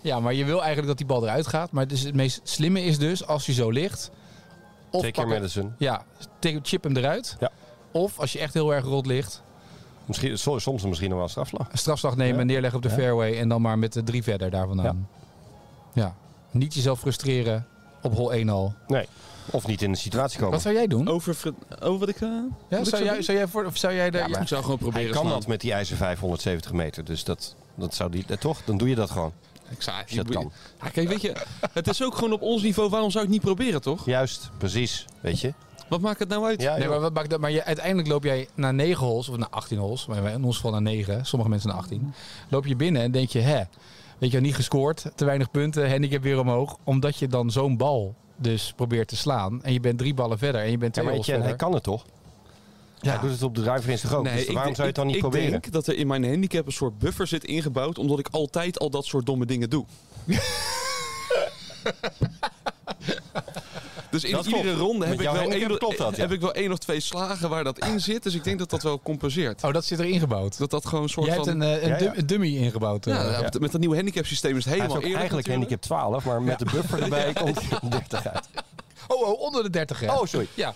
S1: Ja, maar je wil eigenlijk dat die bal eruit gaat. Maar dus het meest slimme is dus, als je zo ligt... Of
S3: Take
S1: pak
S3: your
S1: hem-
S3: medicine.
S1: Ja, tik- chip hem eruit.
S3: Ja.
S1: Of als je echt heel erg rot ligt,
S3: Misschien, so- soms misschien nog wel een strafslag.
S1: een strafslag nemen,
S3: Ja.
S1: neerleggen op de
S3: Ja.
S1: fairway en dan maar met de drie verder daar vandaan. Ja. Niet jezelf frustreren op hol 1 al.
S3: Nee. Of niet in de situatie komen.
S1: Wat zou jij doen?
S2: Over, Fred- over wat ik... eh,
S1: ja,
S2: wat Oh, ik
S1: zou, jij,
S2: doen?
S1: zou jij voor, of zou jij daar...
S2: Ik zou gewoon
S3: Hij
S2: proberen
S3: kan
S2: slaan.
S3: dat met die ijzer 570 meter. Dus dat, dat zou die. eh, toch? Dan doe je dat gewoon.
S2: Ik zei,
S3: je dat
S2: ik-
S3: kan.
S2: Ja, kijk, weet je, het is ook gewoon op ons niveau. Waarom zou ik het niet proberen, toch?
S3: Juist, precies. Weet je?
S2: Wat maakt het nou uit?
S3: Ja,
S1: Nee,
S3: joh.
S1: maar, wat maakt dat, maar je, uiteindelijk loop jij na 9 holes, of na 18 holes, maar in ons geval na 9, sommige mensen na 18, loop je binnen en denk je, hè, weet je, niet gescoord, te weinig punten, handicap weer omhoog, omdat je dan zo'n bal dus probeert te slaan en je bent drie ballen verder en je bent
S3: Ja,
S1: twee
S3: maar
S1: holes
S3: Etienne, hij
S1: verder.
S3: kan het toch? Hij doet het op de driver in zijn ook.
S2: Nee,
S3: dus
S2: ik
S3: waarom
S2: denk-
S3: zou je het dan niet
S2: ik-
S3: proberen?
S2: Ik denk dat er in mijn handicap een soort buffer zit ingebouwd, omdat ik altijd al dat soort domme dingen doe. Dus in
S3: Dat klopt.
S2: iedere ronde
S3: Met
S2: heb ik,
S3: jouw
S2: wel
S3: handicap
S2: één,
S3: klopt dat, ja.
S2: heb ik wel één of twee slagen waar dat in zit. Dus ik denk dat dat wel compenseert.
S1: Oh, dat zit er ingebouwd.
S2: Dat dat gewoon een soort
S1: Jij hebt
S2: van...
S1: een, eh, een
S3: Ja, ja.
S1: dum- dummy ingebouwd. eh.
S2: ja,
S1: ja.
S2: met- Met dat nieuwe handicapsysteem is het
S3: Hij heeft
S2: helemaal
S3: ook
S2: eerlijk
S3: eigenlijk
S2: natuurlijk.
S3: handicap 12, maar met de buffer erbij komt 30 uit.
S1: Oh, oh, onder de 30 hè?
S3: Oh, sorry.
S1: Ja,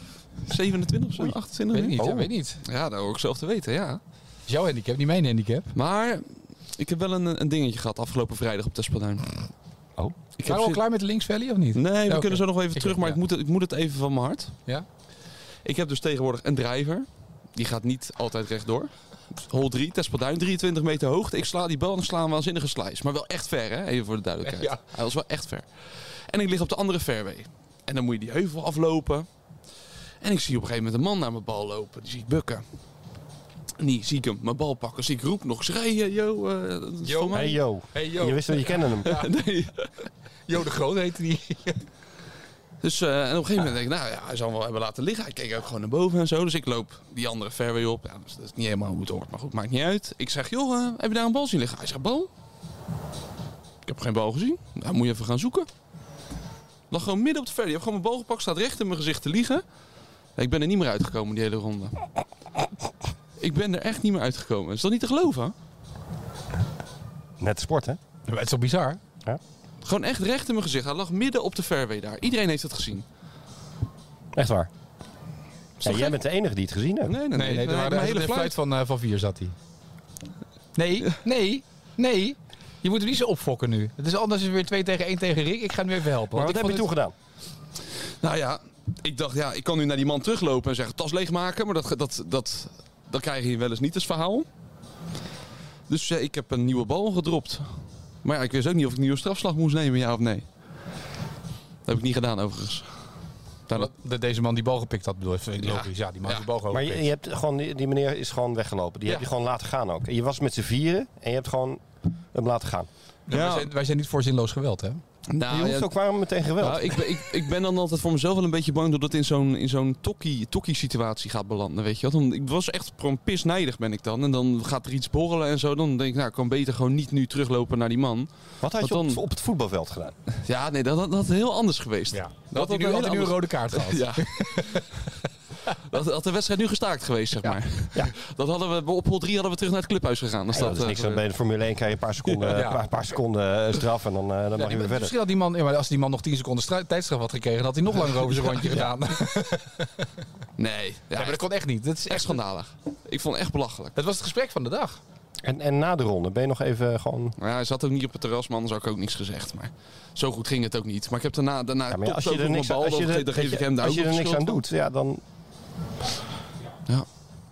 S2: 27 of zo, 28?
S1: weet ik niet. Ja,
S3: Oh.
S1: weet ik niet.
S2: Ja, dat hoor ik zelf te weten, ja.
S1: Dat is jouw handicap, niet mijn handicap.
S2: Maar ik heb wel een, een dingetje gehad afgelopen vrijdag op Tespelduin.
S3: Oh.
S2: Ik
S1: Waren we al
S2: zin-
S1: klaar met de Links Valley of niet?
S2: Nee, we
S1: oké.
S2: kunnen zo nog wel even
S1: Ik
S2: terug,
S1: ook,
S2: maar
S1: ja.
S2: ik, moet het, ik moet het even van mijn hart.
S1: Ja?
S2: Ik heb dus tegenwoordig een drijver. Die gaat niet altijd rechtdoor. Hol 3, Tespelduin, 23 meter hoogte. Ik sla die bal en ik sla een waanzinnige slice. Maar wel echt ver, hè? Even voor de duidelijkheid.
S1: Ja.
S2: Hij was wel echt ver. En ik lig op de andere fairway. En dan moet je die heuvel aflopen. En ik zie op een gegeven moment een man naar mijn bal lopen. Die zie ik bukken. En die zie ik hem mijn bal pakken. Zie ik roep nog. Schreeuwen, yo. eh, dat is
S1: Yo.
S2: voor mij.
S3: Hey yo.
S1: Hey,
S3: Je wist dat je kende hem.
S2: Nee.
S1: Jo de Groot heette die.
S2: Dus eh, en op een gegeven moment denk ik, nou ja, hij zal hem wel hebben laten liggen. Hij keek ook gewoon naar boven en zo. Dus ik loop die andere fairway op. Ja, dus dat is niet helemaal hoe het hoort, maar goed, maakt niet uit. Ik zeg, joh, eh, heb je daar een bal zien liggen? Hij zegt, bal? Ik heb geen bal gezien. Nou, moet je even gaan zoeken. Lag gewoon midden op de fairway. Ik heb gewoon mijn bal gepakt, staat recht in mijn gezicht te liegen. Ja, ik ben er niet meer uitgekomen die hele ronde. Ik ben er echt niet meer uitgekomen. Is dat niet te geloven?
S3: Net sport, hè?
S1: Maar het is toch bizar?
S2: Gewoon echt recht in mijn gezicht. Hij lag midden op de fairway daar. Iedereen heeft het gezien.
S3: Echt waar.
S2: Is
S3: Ja,
S2: toch
S3: jij
S2: gek?
S3: bent de enige die het gezien hebt.
S2: Nee, nee, nee.
S1: Nee, nee,
S2: Mijn
S1: daar waren
S2: hele
S1: de
S2: fluit.
S1: fluit van, eh, van vier zat hij. Nee, nee, nee. Je moet hem niet zo opfokken nu. Het is anders is het weer 2 tegen 1 tegen Rick. Ik ga hem weer even helpen.
S3: Maar
S1: want
S3: wat
S1: ik
S3: heb je
S1: vond
S3: toen
S1: het-
S3: gedaan?
S2: Nou ja, ik dacht, ja, ik kan nu naar die man teruglopen en zeggen: tas leegmaken. Maar dat, dat, dat, dat krijg je wel eens niet als verhaal. Dus eh, ik heb een nieuwe bal gedropt. Maar ja, ik wist ook niet of ik een nieuwe strafslag moest nemen, ja of nee. Dat heb ik niet gedaan, overigens. Nou, dat-
S1: Dat deze man die bal gepikt had, bedoel ik. Vind ik Logisch, ja, die man
S2: Ja.
S1: heeft de bal gewoon
S3: Maar je, je hebt gewoon, die, die meneer is gewoon weggelopen.
S2: Oh,
S3: Die
S2: Ja.
S3: heb je gewoon laten gaan ook. En je was met z'n vieren en je hebt gewoon hem laten gaan.
S1: Wij,
S2: Ja.
S1: zijn, wij zijn niet voor zinloos geweld, hè?
S2: nou,
S3: je hoeft
S2: ja,
S3: ook waarom meteen geweld.
S2: nou, ik, ben, ik, ik ben dan altijd voor mezelf wel een beetje bang dat het in zo'n, in zo'n tokkie, tokkie situatie gaat belanden, weet je wel. Dan, ik was echt gewoon pisnijdig ben ik dan. En dan gaat er iets borrelen en zo. Dan denk ik, nou, ik kan beter gewoon niet nu teruglopen naar die man.
S3: Wat had
S2: wat
S3: je op, het-
S2: dan?
S3: op het voetbalveld gedaan?
S2: Ja, nee, dat, dat, dat had heel anders geweest.
S1: Ja. Dat
S2: Dat
S1: hij nu,
S2: had
S1: had
S2: een
S1: hij nu een
S2: ander-
S1: rode kaart gehad.
S2: Ja. dat had de wedstrijd nu gestaakt geweest, zeg maar.
S3: Ja.
S2: Dat hadden we, op hol 3 hadden we terug naar het clubhuis gegaan. Als
S3: Ja, dat is
S2: eh,
S3: niks. Dan bij de Formule 1 krijg je een paar seconden,
S1: Ja.
S3: een paar, paar seconden eh, straf en dan, eh, dan mag je weer verder.
S1: Misschien had die man, ja, maar als die man nog 10 seconden stra- tijdstraf had gekregen, dan had hij nog langer over zijn rondje gedaan. Nee,
S2: Nee, ja,
S1: maar dat
S2: echt,
S1: kon echt niet. Dat is
S2: echt
S1: echt schandaal.
S2: schandalig. Ik vond het echt belachelijk.
S1: Het was het gesprek van de dag.
S3: En, en na de ronde ben je nog even gewoon...
S2: Maar ja, hij zat ook niet op het terras, man, anders had ik ook niks gezegd. Maar zo goed ging het ook niet. Maar ik heb daarna, daarna
S3: Ja, maar
S2: top
S3: ja, als je
S2: over
S3: er
S2: mijn
S3: niks,
S2: bal,
S3: als je
S2: dan
S3: er,
S2: ge- dan geef ik hem
S3: weet je,
S2: daar
S3: als je
S2: ook
S3: er
S2: nog
S3: niks aan
S2: schuld
S3: doet, ja, dan...
S2: van. Ja.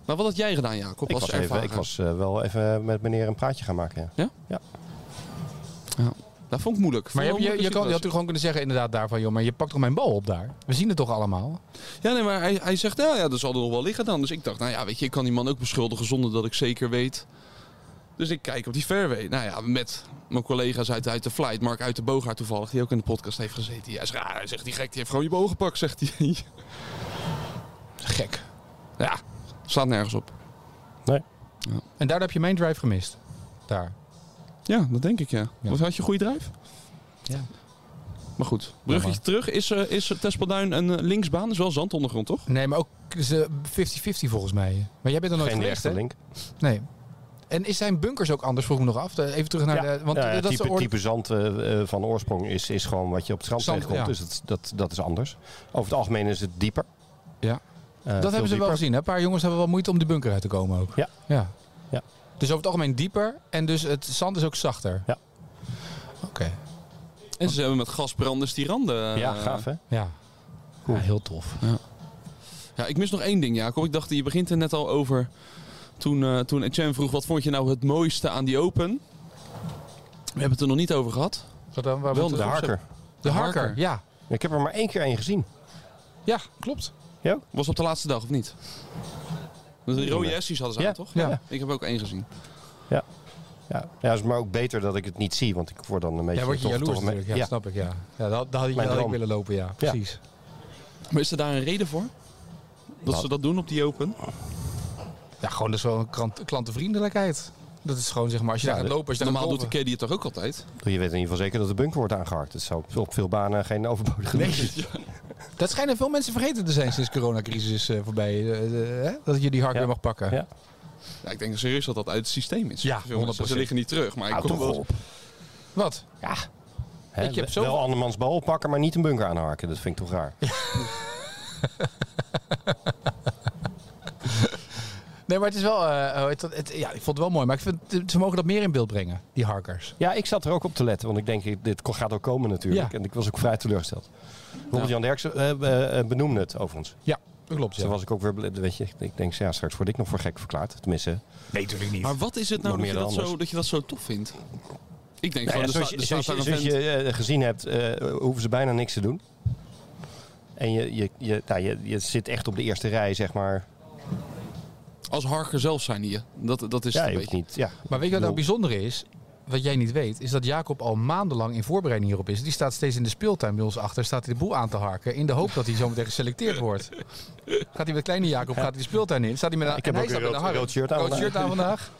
S2: Maar wat had jij gedaan, Jacob?
S3: Ik
S2: als
S3: was, even, ik
S2: ervaring?
S3: was eh, wel even met meneer een praatje gaan maken. ja.
S2: Dat vond ik moeilijk.
S1: Maar je,
S2: Vond
S1: hebt-
S2: ik
S1: je, je,
S2: wel
S1: kan, je
S2: een
S1: had toch gewoon kunnen zeggen inderdaad daarvan, joh, maar je pakt toch mijn bal op daar? We zien het toch allemaal?
S2: Ja, nee, maar hij, hij zegt, nou ja, dat zal er nog wel liggen dan. Dus ik dacht, nou ja, weet je, ik kan die man ook beschuldigen zonder dat ik zeker weet. Dus ik kijk op die fairway. Nou ja, met mijn collega's uit, uit de flight, Mark uit de Bogaar toevallig, die ook in de podcast heeft gezeten. Hij zegt, ah, hij zegt, die gek, die heeft gewoon je boog gepakt, zegt hij.
S1: Gek.
S2: ja, slaat nergens op.
S1: En daardoor heb je mijn drive gemist. Daar.
S2: Ja, dat denk ik, ja.
S1: Ja.
S2: Wat, had je een goede drijf?
S1: Ja.
S2: Maar goed, bruggetje
S1: Jammer.
S2: terug. Is, eh is Tespelduin een eh, linksbaan? is wel zandondergrond, toch?
S1: Nee, maar ook is, eh, 50-50 volgens mij. Maar jij bent er nooit
S3: Geen
S1: geweest,
S3: directe
S1: hè?
S3: link.
S1: Nee. En is zijn bunkers ook anders? Vroeg ik me nog af. Eh, Even terug naar de... Want
S3: Ja, ja,
S1: dat is
S3: type,
S1: de orde-
S3: type zand eh, eh, van oorsprong is, is gewoon wat je op het strand
S1: Zand,
S3: tegenkomt.
S1: ja.
S3: Dus dat, dat, dat is anders. Over het algemeen is het dieper.
S1: Ja.
S3: Eh, veel
S1: Dat hebben ze wel
S3: dieper.
S1: gezien. Hè? Een paar jongens hebben wel moeite om de bunker uit te komen ook.
S3: Ja.
S1: ja.
S3: Ja.
S1: Dus over het algemeen dieper en dus het zand is ook zachter.
S3: Ja.
S1: Oké.
S2: En ze hebben met gasbranders die randen. eh,
S3: Ja, gaaf hè?
S1: Ja.
S3: Cool.
S1: Ja, heel tof.
S2: Ja, ik mis nog één ding, Jacob. Ik dacht, je begint er net al over. Toen, eh, toen Etienne vroeg, wat vond je nou het mooiste aan die Open? We hebben het er nog niet over gehad.
S1: Wat dan? Waar
S2: Wel
S1: moet
S2: de
S3: De
S1: het-
S3: harker.
S1: De harker.
S2: harker.
S1: Ja.
S3: Ik heb er maar één keer één gezien.
S1: Ja, klopt.
S2: Was op de laatste dag, of niet? De rode Essies hadden ze
S3: Ja,
S2: aan, toch?
S1: ja.
S2: Ik heb ook één gezien.
S3: Ja, ja is maar ook beter dat ik het niet zie, want ik word dan een beetje...
S1: Ja, word je
S3: toch-
S1: jaloers
S3: toch een
S1: natuurlijk.
S3: beetje-
S1: Ja, snap ik. Ja. Ja, dat, dat had je
S3: Mijn
S1: wel
S3: droom.
S1: willen lopen. Ja, precies.
S2: Maar is er daar een reden voor? Dat
S3: Wat?
S2: ze dat doen op die Open?
S1: Ja, gewoon dat is wel een krant, klantenvriendelijkheid. Dat is gewoon zeg maar als je
S3: Ja,
S1: daar gaat
S3: de-
S1: lopen, als je daar
S2: Normaal
S1: gaat
S2: doet de
S1: lopen.
S2: caddy het toch ook altijd?
S3: Je weet in ieder geval zeker dat de bunker wordt aangehakt. Het zou op- op veel banen geen overbodige luxe zijn.
S1: Dat schijnen veel mensen vergeten te zijn sinds de coronacrisis is eh, voorbij. eh, eh, hè? dat je die hard
S3: Ja.
S1: weer mag pakken.
S3: Ja.
S2: Ja, ik denk serieus dat dat uit het systeem is.
S1: Ja,
S2: Veel mensen,
S1: 100%.
S2: Ze liggen niet terug, maar ik
S3: Houd
S2: kom
S3: Nou, toch
S2: wel...
S3: op.
S1: Wat?
S3: Ja. Hè,
S2: Ik heb
S3: we-
S2: zoveel-
S3: Wel andermans bal pakken, maar niet een bunker aanharken. Dat vind ik toch raar.
S1: Nee, maar het is wel. eh, eh, het, het- ja, ik vond het wel mooi. Maar ik vind, het- ze mogen dat meer in beeld brengen, die harkers.
S3: Ja, ik zat er ook op te letten, want ik denk, dit ko- gaat ook komen natuurlijk.
S1: Ja.
S3: En ik was ook vrij teleurgesteld. Robert-Jan Derksen eh, eh, eh, benoemde het overigens.
S1: Ja, dat klopt.
S3: Zo was ik ook weer, bl- weet je, ik denk, ja, straks word ik nog voor gek verklaard. Tenminste,
S1: Nee, natuurlijk niet.
S2: Maar wat is het nou dat
S3: Nog
S2: je
S3: meer
S2: dat,
S3: dan
S2: zo, dat je dat zo tof vindt? Ik denk
S3: Nou
S2: gewoon,
S3: ja,
S2: er
S3: zoals
S2: sta-
S3: je,
S2: er
S3: zoals
S2: staat
S3: je-
S2: daar een
S3: zoals
S2: vent-
S3: je, eh, gezien hebt, eh, hoeven ze bijna niks te doen. En je, je, je, nou, je, je zit echt op de eerste rij, zeg maar.
S2: Als harker zelf zijn hier. Dat, dat is
S3: Ja,
S2: het
S3: je
S2: een
S3: hoeft
S2: beetje.
S3: niet. Ja.
S1: Maar weet je wat nou bijzonder is? Wat jij niet weet, is dat Jacob al maandenlang in voorbereiding hierop is. Die staat steeds in de speeltuin bij ons achter, staat hij de boel aan te harken. In de hoop dat hij zometeen geselecteerd wordt. Gaat hij met kleine Jacob, gaat hij de speeltuin in. Staat hij met een,
S3: Ik heb
S1: en
S3: ook
S1: hij
S3: een
S1: staat met
S3: rood- rood shirt aan
S1: Rood
S3: vandaag.
S1: shirt aan vandaag.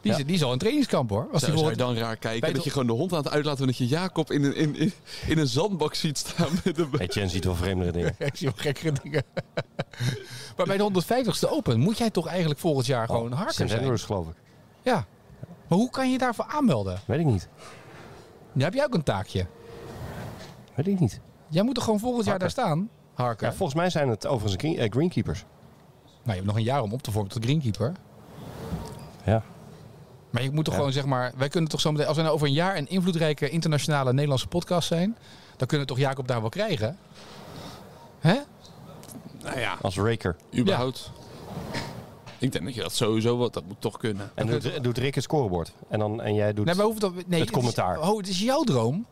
S1: Die,
S3: Ja.
S1: is, die is al in trainingskamp hoor. Als
S2: Zou,
S1: die
S2: zou je
S1: bijvoorbeeld-
S2: dan raar kijken
S1: Bij
S2: dat
S1: de-
S2: je gewoon de hond aan het uitlaten... en dat je Jacob in een, in, in, in een zandbak ziet staan met een...
S3: Hey, Jen ziet wel vreemdere dingen.
S1: Ik zie wel gekkere dingen. maar bij de 150ste Open moet jij toch eigenlijk volgend jaar
S3: Oh,
S1: gewoon harken
S3: St.
S1: zijn?
S3: Andrews, geloof ik.
S1: Ja. Maar hoe kan je daarvoor aanmelden?
S3: Weet ik niet.
S1: Nu heb jij ook een taakje.
S3: Weet ik niet.
S1: Jij moet toch gewoon volgend jaar daar staan? Harken.
S3: Ja, volgens mij zijn het overigens green- eh, greenkeepers.
S1: Nou, je hebt nog een jaar om op te vormen tot greenkeeper.
S3: Ja.
S1: Maar je moet toch gewoon zeg maar, wij kunnen toch zo meteen, als we nou over een jaar een invloedrijke internationale Nederlandse podcast zijn, dan kunnen we toch Jacob daar wel krijgen? Hè?
S2: Nou ja,
S3: Als raker.
S2: überhaupt. Ik denk dat je dat sowieso... wat Dat moet toch kunnen.
S3: En doet, doet Rick het scorebord. En, dan, en jij doet...
S1: Nee, maar hoeft dat, nee,
S3: Het
S1: is-
S3: commentaar.
S1: oh, het is jouw droom.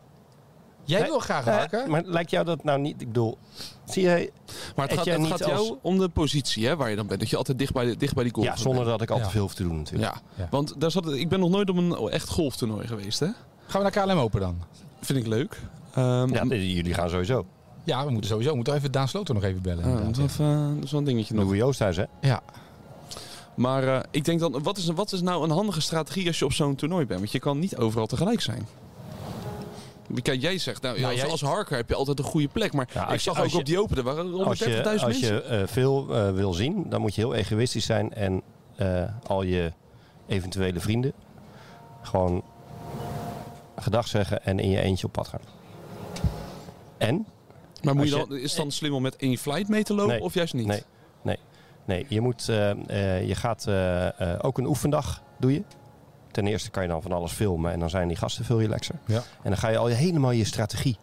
S1: Jij
S3: Nee,
S1: wil graag
S3: Eh,
S1: hakken.
S3: maar lijkt jou dat nou niet... Ik bedoel, zie jij...
S2: Maar het
S3: Eet
S2: gaat,
S3: jij
S2: het
S3: niet
S2: gaat jou
S3: als-
S2: om de positie hè, waar je dan bent. Dat je altijd dicht bij, de- dicht bij die goal
S3: Ja, zonder dat ik al te
S1: Ja.
S3: veel hoef te doen natuurlijk.
S2: Ja,
S1: Ja.
S2: want daar zat, het- ik ben nog nooit op een oh, echt golftoernooi geweest. Hè?
S1: Gaan we naar KLM open dan?
S2: Vind ik leuk. Ehm
S3: Ja, nee, jullie gaan sowieso.
S1: Ja, we moeten sowieso. We moeten even Daan Sloter nog even
S3: Ah,
S1: bellen.
S2: eh,
S1: inderdaad,
S2: dat is even- dat is wel een dingetje nog.
S3: Doen we Joost thuis, hè?
S1: ja.
S2: Maar eh, ik denk dan, wat is, wat is nou een handige strategie als je op zo'n toernooi bent? Want je kan niet overal tegelijk zijn. Kijk, jij zegt, nou, ja,
S1: Nou,
S2: als,
S1: jij-
S2: als harker heb je altijd een goede plek. Maar
S3: Ja, als
S2: ik
S3: je-
S2: zag
S3: als
S2: ook
S3: je-
S2: op die open, er waren 130.000
S3: Als je,
S2: mensen.
S3: als je eh, veel eh, wil zien, dan moet je heel egoïstisch zijn en eh, al je eventuele vrienden gewoon gedag zeggen en in je eentje op pad gaan. En?
S2: maar moet
S3: als
S2: je
S3: je-
S2: dan, is het dan slim om met één flight mee te lopen
S3: Nee.
S2: of juist niet?
S3: Nee, nee, nee. Je, moet, eh, eh, je gaat eh, eh, ook een oefendag doe je. Ten eerste kan je dan van alles filmen en dan zijn die gasten veel relaxer.
S1: Ja.
S3: En dan ga je al je- helemaal je strategie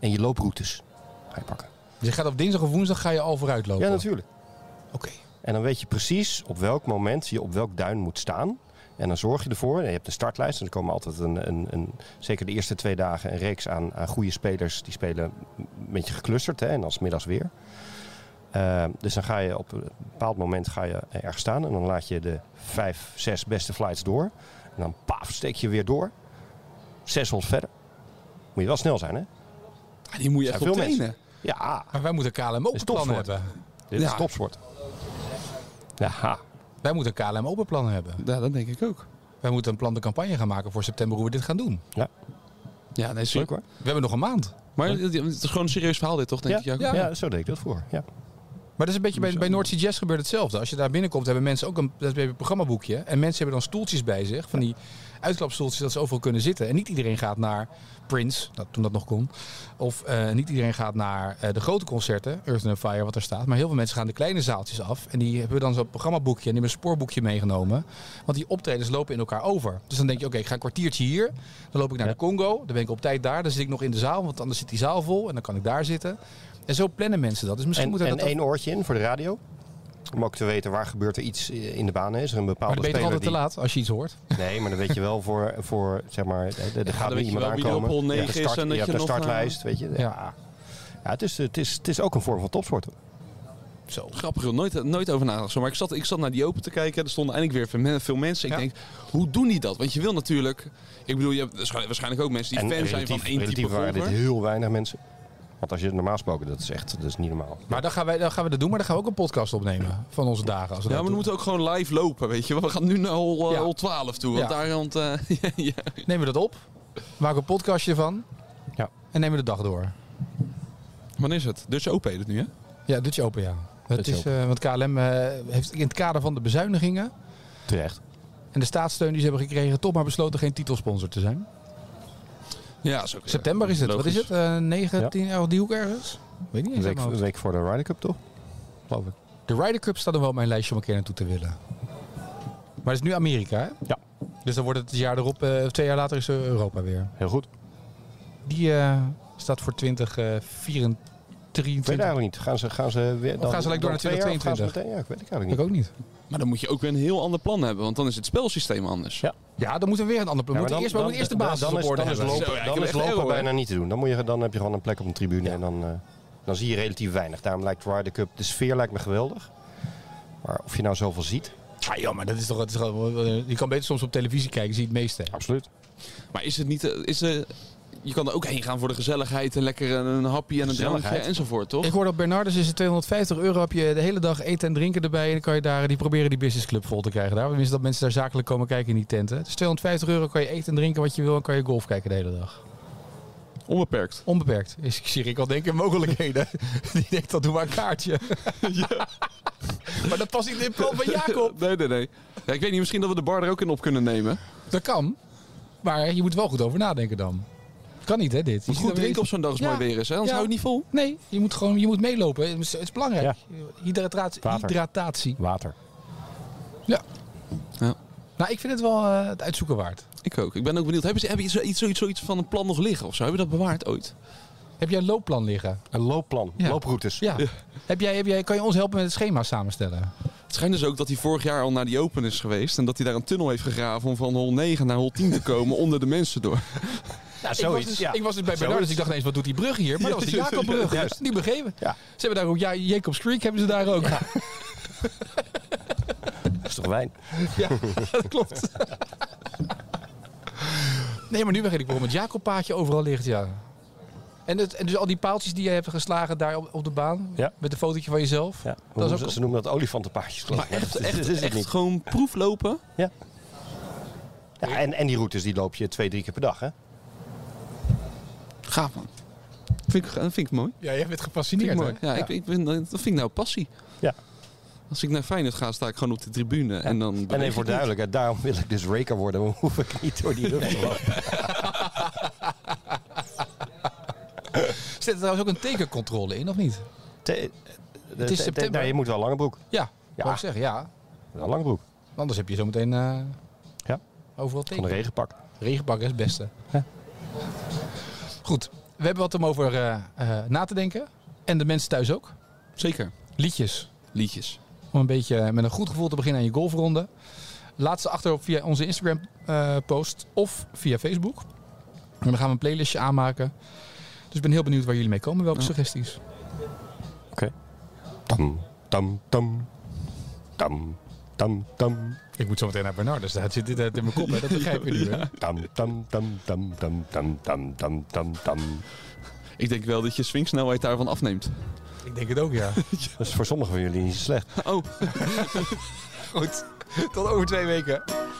S3: en je looproutes ga je pakken.
S1: Dus je gaat op dinsdag of woensdag ga je al vooruit lopen.
S3: Ja, natuurlijk.
S1: Oké.
S3: En dan weet je precies op welk moment je op welk duin moet staan. En dan zorg je ervoor, en je hebt een startlijst, en er komen altijd een, een, een, zeker de eerste twee dagen een reeks aan, aan goede spelers. Die spelen een beetje geclusterd hè, en dan 's middags weer. Eh, dus dan ga je op een bepaald moment ga je ergens staan en dan laat je de vijf, zes beste flights door. En dan paf, steek je weer door. Zes hols verder. Moet je wel snel zijn, hè?
S2: Ah, die moet je
S3: Ja,
S2: echt
S3: veel
S2: op trainen.
S3: mensen. Ja,
S1: Maar wij moeten KLM open
S3: Is
S1: plan
S3: topsport.
S1: hebben.
S3: dit is
S2: Ja.
S3: topsport. Ja,
S1: Wij moeten een KLM open plan hebben.
S2: Ja, dat denk ik ook.
S1: Wij moeten een plan de campagne gaan maken voor september hoe we dit gaan doen.
S2: Ja, nee,
S3: leuk
S2: zeker.
S3: hoor.
S1: We hebben nog een maand.
S2: Maar het het is gewoon een serieus verhaal dit, toch? Denk
S3: Ja,
S2: ik, Jacob?
S1: Ja.
S3: ja, zo deed ik dat voor. Ja.
S1: Maar dat is een beetje bij, bij North Sea Jazz gebeurt hetzelfde. Als je daar binnenkomt, hebben mensen ook een, dat is een programmaboekje. En mensen hebben dan stoeltjes bij zich. Van die uitklapstoeltjes dat ze overal kunnen zitten. En niet iedereen gaat naar Prince, dat, toen dat nog kon. Of eh, niet iedereen gaat naar eh, de grote concerten, Earth and Fire, wat er staat. Maar heel veel mensen gaan de kleine zaaltjes af. En die hebben dan zo'n programmaboekje en die hebben een spoorboekje meegenomen. Want die optredens lopen in elkaar over. Dus dan denk je, oké, ik ga een kwartiertje hier. Dan loop ik naar de Congo. Dan ben ik op tijd daar. Dan zit ik nog in de zaal, want anders zit die zaal vol. En dan kan ik daar zitten. En zo plannen mensen dat. Dus misschien
S3: En,
S1: moeten we
S3: en
S1: dat ook-
S3: één oortje in voor de radio. Om ook te weten waar gebeurt er iets eh, in de banen. Is er een
S1: Maar
S3: bepaalde
S1: dan ben je toch
S3: speler
S1: altijd
S3: die...
S1: te laat als je iets hoort.
S3: Nee, maar dan weet je wel voor, voor zeg maar, eh, er gaat
S2: weet
S3: er
S2: je
S3: iemand
S2: wel wie er op
S3: aankomen.
S2: hol
S3: Je hebt
S2: negen
S3: een
S2: is en
S3: je
S2: dat
S3: hebt
S2: je
S3: een
S2: nog,
S3: startlijst, weet je. Ja.
S1: Ja.
S3: Ja, het, is, het, is, het is ook een vorm van topsport. hoor.
S1: Zo.
S2: Grappig, joh. nooit, nooit over nagedacht. zo. Maar ik zat, ik zat naar die open te kijken. Er stonden eindelijk weer veel men- veel mensen. Ik
S1: Ja.
S2: denk, hoe doen die dat? Want je wil natuurlijk... Ik bedoel, je hebt waarsch- waarschijnlijk ook mensen die fan zijn van één type
S3: relatief waren dit
S2: golfer.
S3: heel weinig mensen. Want als je het normaal gesproken, dat is echt dat is niet normaal.
S1: Maar dan gaan, wij, dan gaan we dat doen, maar dan gaan we ook een podcast opnemen van onze dagen. Als we
S2: Ja, maar
S1: dat
S2: we
S1: doen.
S2: moeten ook gewoon live lopen, weet je. wel. We gaan nu naar hol, eh,
S1: Ja.
S2: hol 12 toe. Want
S1: Ja.
S2: daar... Want, eh, ja, ja.
S1: Nemen we dat op, maken we een podcastje van
S3: Ja.
S1: en nemen we de dag door.
S2: Wanneer is het? Dus Dutch Open heet het nu, hè?
S1: Ja, Dutch Open, ja. Het
S3: Dutch
S1: is,
S3: Open.
S1: eh, want KLM eh, heeft in het kader van de bezuinigingen
S3: Terecht.
S1: en de staatssteun die ze hebben gekregen, toch maar besloten geen titelsponsor te zijn.
S2: Ja, is ook weer-
S1: September is het. Wat
S2: logisch.
S1: is het? Eh 9,
S3: Ja.
S1: 10, 11, die hoek ergens? Weet niet
S3: Een
S1: eens. uit
S3: week,
S1: mijn hoofd.
S3: een week voor de Ryder Cup, toch? Geloof ik.
S1: De Ryder Cup staat er wel op mijn lijstje om een keer naartoe te willen. Maar het is nu Amerika, hè?
S3: Ja.
S1: Dus dan wordt het het jaar erop, eh, of twee jaar later is er Europa weer.
S3: Heel goed.
S1: Die eh, staat voor eh, 2024.
S3: Ik weet eigenlijk niet. Gaan ze, gaan ze weer...
S1: gaan ze gelijk door naar
S3: twee jaar of gaan ze
S1: 2022?
S3: meteen? Ja, ik weet het eigenlijk
S1: ik
S3: niet.
S1: ook niet.
S2: Maar dan moet je ook weer een heel ander plan hebben, want dan is het spelsysteem anders.
S3: Ja.
S1: Ja, dan moeten we weer een ander plan.
S3: Ja,
S1: we moeten
S3: maar
S1: eerst, maar we moeten eerst de basis
S3: dan,
S1: op
S3: is,
S1: orde
S3: dan is
S1: hebben.
S3: lopen,
S2: Zo, ja, ik
S3: dan
S2: heb
S3: is
S2: echt
S3: lopen
S2: eeuwen, hè?
S3: bijna niet te doen. Dan, moet je, dan heb je gewoon een plek op een tribune en dan, eh, dan zie je relatief weinig. Daarom lijkt de Ryder Cup, de sfeer lijkt me geweldig. Maar of je nou zoveel ziet,
S1: Ah, ja, maar dat is toch... Dat is gewoon- je kan beter soms op televisie kijken, zie je het meeste.
S3: absoluut.
S2: Maar is het niet... eh, Is, eh, je kan er ook heen gaan voor de gezelligheid en lekker een, een hapje en een drankje
S3: Gezelligheid.
S2: enzovoort, toch?
S1: Ik hoorde op Bernardus is het 250 euro. Heb je de hele dag eten en drinken erbij. En dan kan je daar, die proberen die businessclub vol te krijgen. Daar. Tenminste, dat mensen daar zakelijk komen kijken in die tenten. Dus 250 euro kan je eten en drinken wat je wil. En kan je golf kijken de hele dag.
S2: Onbeperkt.
S1: Onbeperkt. Is, ik zie ik al denken mogelijkheden. die denkt, dat doe maar een kaartje. maar dat past niet in het plan van Jacob.
S2: Nee, nee, nee. Ja, ik weet niet, misschien dat we de bar er ook in op kunnen nemen.
S1: Dat kan. Maar je moet wel goed over nadenken dan. Kan niet, hè, dit. Je
S2: Moet
S1: ziet
S2: goed
S1: dan weer
S2: drinken op zo'n dag als het
S1: Ja.
S2: mooi weer is, hè? anders
S1: Ja.
S2: hou je het niet vol.
S1: iets- Nee, je moet gewoon je moet meelopen. Het is, het is belangrijk. Hydratatie.
S3: Water.
S1: hydratatie.
S3: Water.
S1: Nou, ik vind het wel eh, het uitzoeken waard.
S2: Ik ook. Ik ben ook benieuwd. Hebben ze hebben ze iets, zoiets, zoiets van een plan nog liggen of zo? Hebben we dat bewaard ooit?
S1: Heb jij een loopplan liggen?
S3: Een loopplan,
S1: Ja.
S3: looproutes.
S1: Ja. Heb jij, heb jij, kan je ons helpen met het schema samenstellen?
S2: Het schijnt dus ook dat hij vorig jaar al naar die Open is geweest. En dat hij daar een tunnel heeft gegraven om van hol 9 naar hol 10 te komen onder de mensen door.
S3: Ja,
S1: ik, was dus, ik was dus bij Bernard, dus ik dacht ineens, wat doet die brug hier? Maar dat was de Jacobbrug. Niet begrepen.
S3: Ja.
S1: Ze hebben daar ook, ja, Jacobs Creek hebben ze daar ook. Ja,
S3: Dat is toch wijn?
S1: dat klopt. nee, maar nu begrijp ik waarom het Jacobpaadje overal ligt, ja. En, het, en dus al die paaltjes die je hebt geslagen daar op, op de baan,
S3: Ja.
S1: met een fotootje van jezelf.
S3: Ja.
S1: Dat is
S3: ze,
S1: ook...
S3: ze noemen dat olifantenpaardjes. geloof ik.
S2: echt,
S3: Dat
S2: echt,
S3: is het
S2: echt
S3: niet.
S2: gewoon proeflopen.
S3: Ja. Ja, en, en die routes die loop je twee, drie keer per dag. Hè?
S2: Gaaf man. Vind ik, dat vind ik mooi.
S1: Ja, jij bent
S2: Vind
S1: gefascineerd,
S2: ik mooi. Ja, Ik, ik vind, dat vind ik nou passie.
S3: Ja.
S2: Als ik naar Feyenoord ga, sta ik gewoon op de tribune. En dan
S3: En
S2: beweeg
S3: even voor
S2: ik niet.
S3: duidelijkheid, daarom wil ik dus raker worden. Dan hoef ik niet door die lucht te lopen.
S1: Zet er trouwens ook een tekencontrole in, of niet?
S3: Te- te- te-
S1: september.
S3: nou, je moet wel een lange broek.
S1: Ja,
S3: Ja.
S1: wou ik zeggen, ja.
S3: Wel een lange broek.
S1: Anders heb je zometeen eh
S3: Ja.
S1: overal
S3: Van een
S1: tegen.
S3: regenpak.
S1: Regenpak is het beste. Goed, we hebben wat om over eh, eh, na te denken. En de mensen thuis ook.
S2: Zeker.
S1: Liedjes.
S2: Liedjes.
S1: Om een beetje eh, met een goed gevoel te beginnen aan je golfronde. Laat ze achter op via onze Instagram eh, post of via Facebook. En dan gaan we een playlistje aanmaken. Dus ik ben heel benieuwd waar jullie mee komen. Welke
S2: Ja.
S1: suggesties?
S3: Tam, tam, tam. Tam, tam, tam.
S1: Ik moet zo meteen naar Bernardus. Dat zit dit uit in mijn kop. hè? Dat begrijp je nu. hè?
S3: Tam, tam, tam, tam, tam, tam, tam, tam, tam, tam.
S2: Ik denk wel dat je swingsnelheid daarvan afneemt.
S1: Ik denk het ook, ja.
S3: Dat is voor sommigen van jullie niet zo slecht.
S2: Oh,
S1: Goed. Tot over twee weken.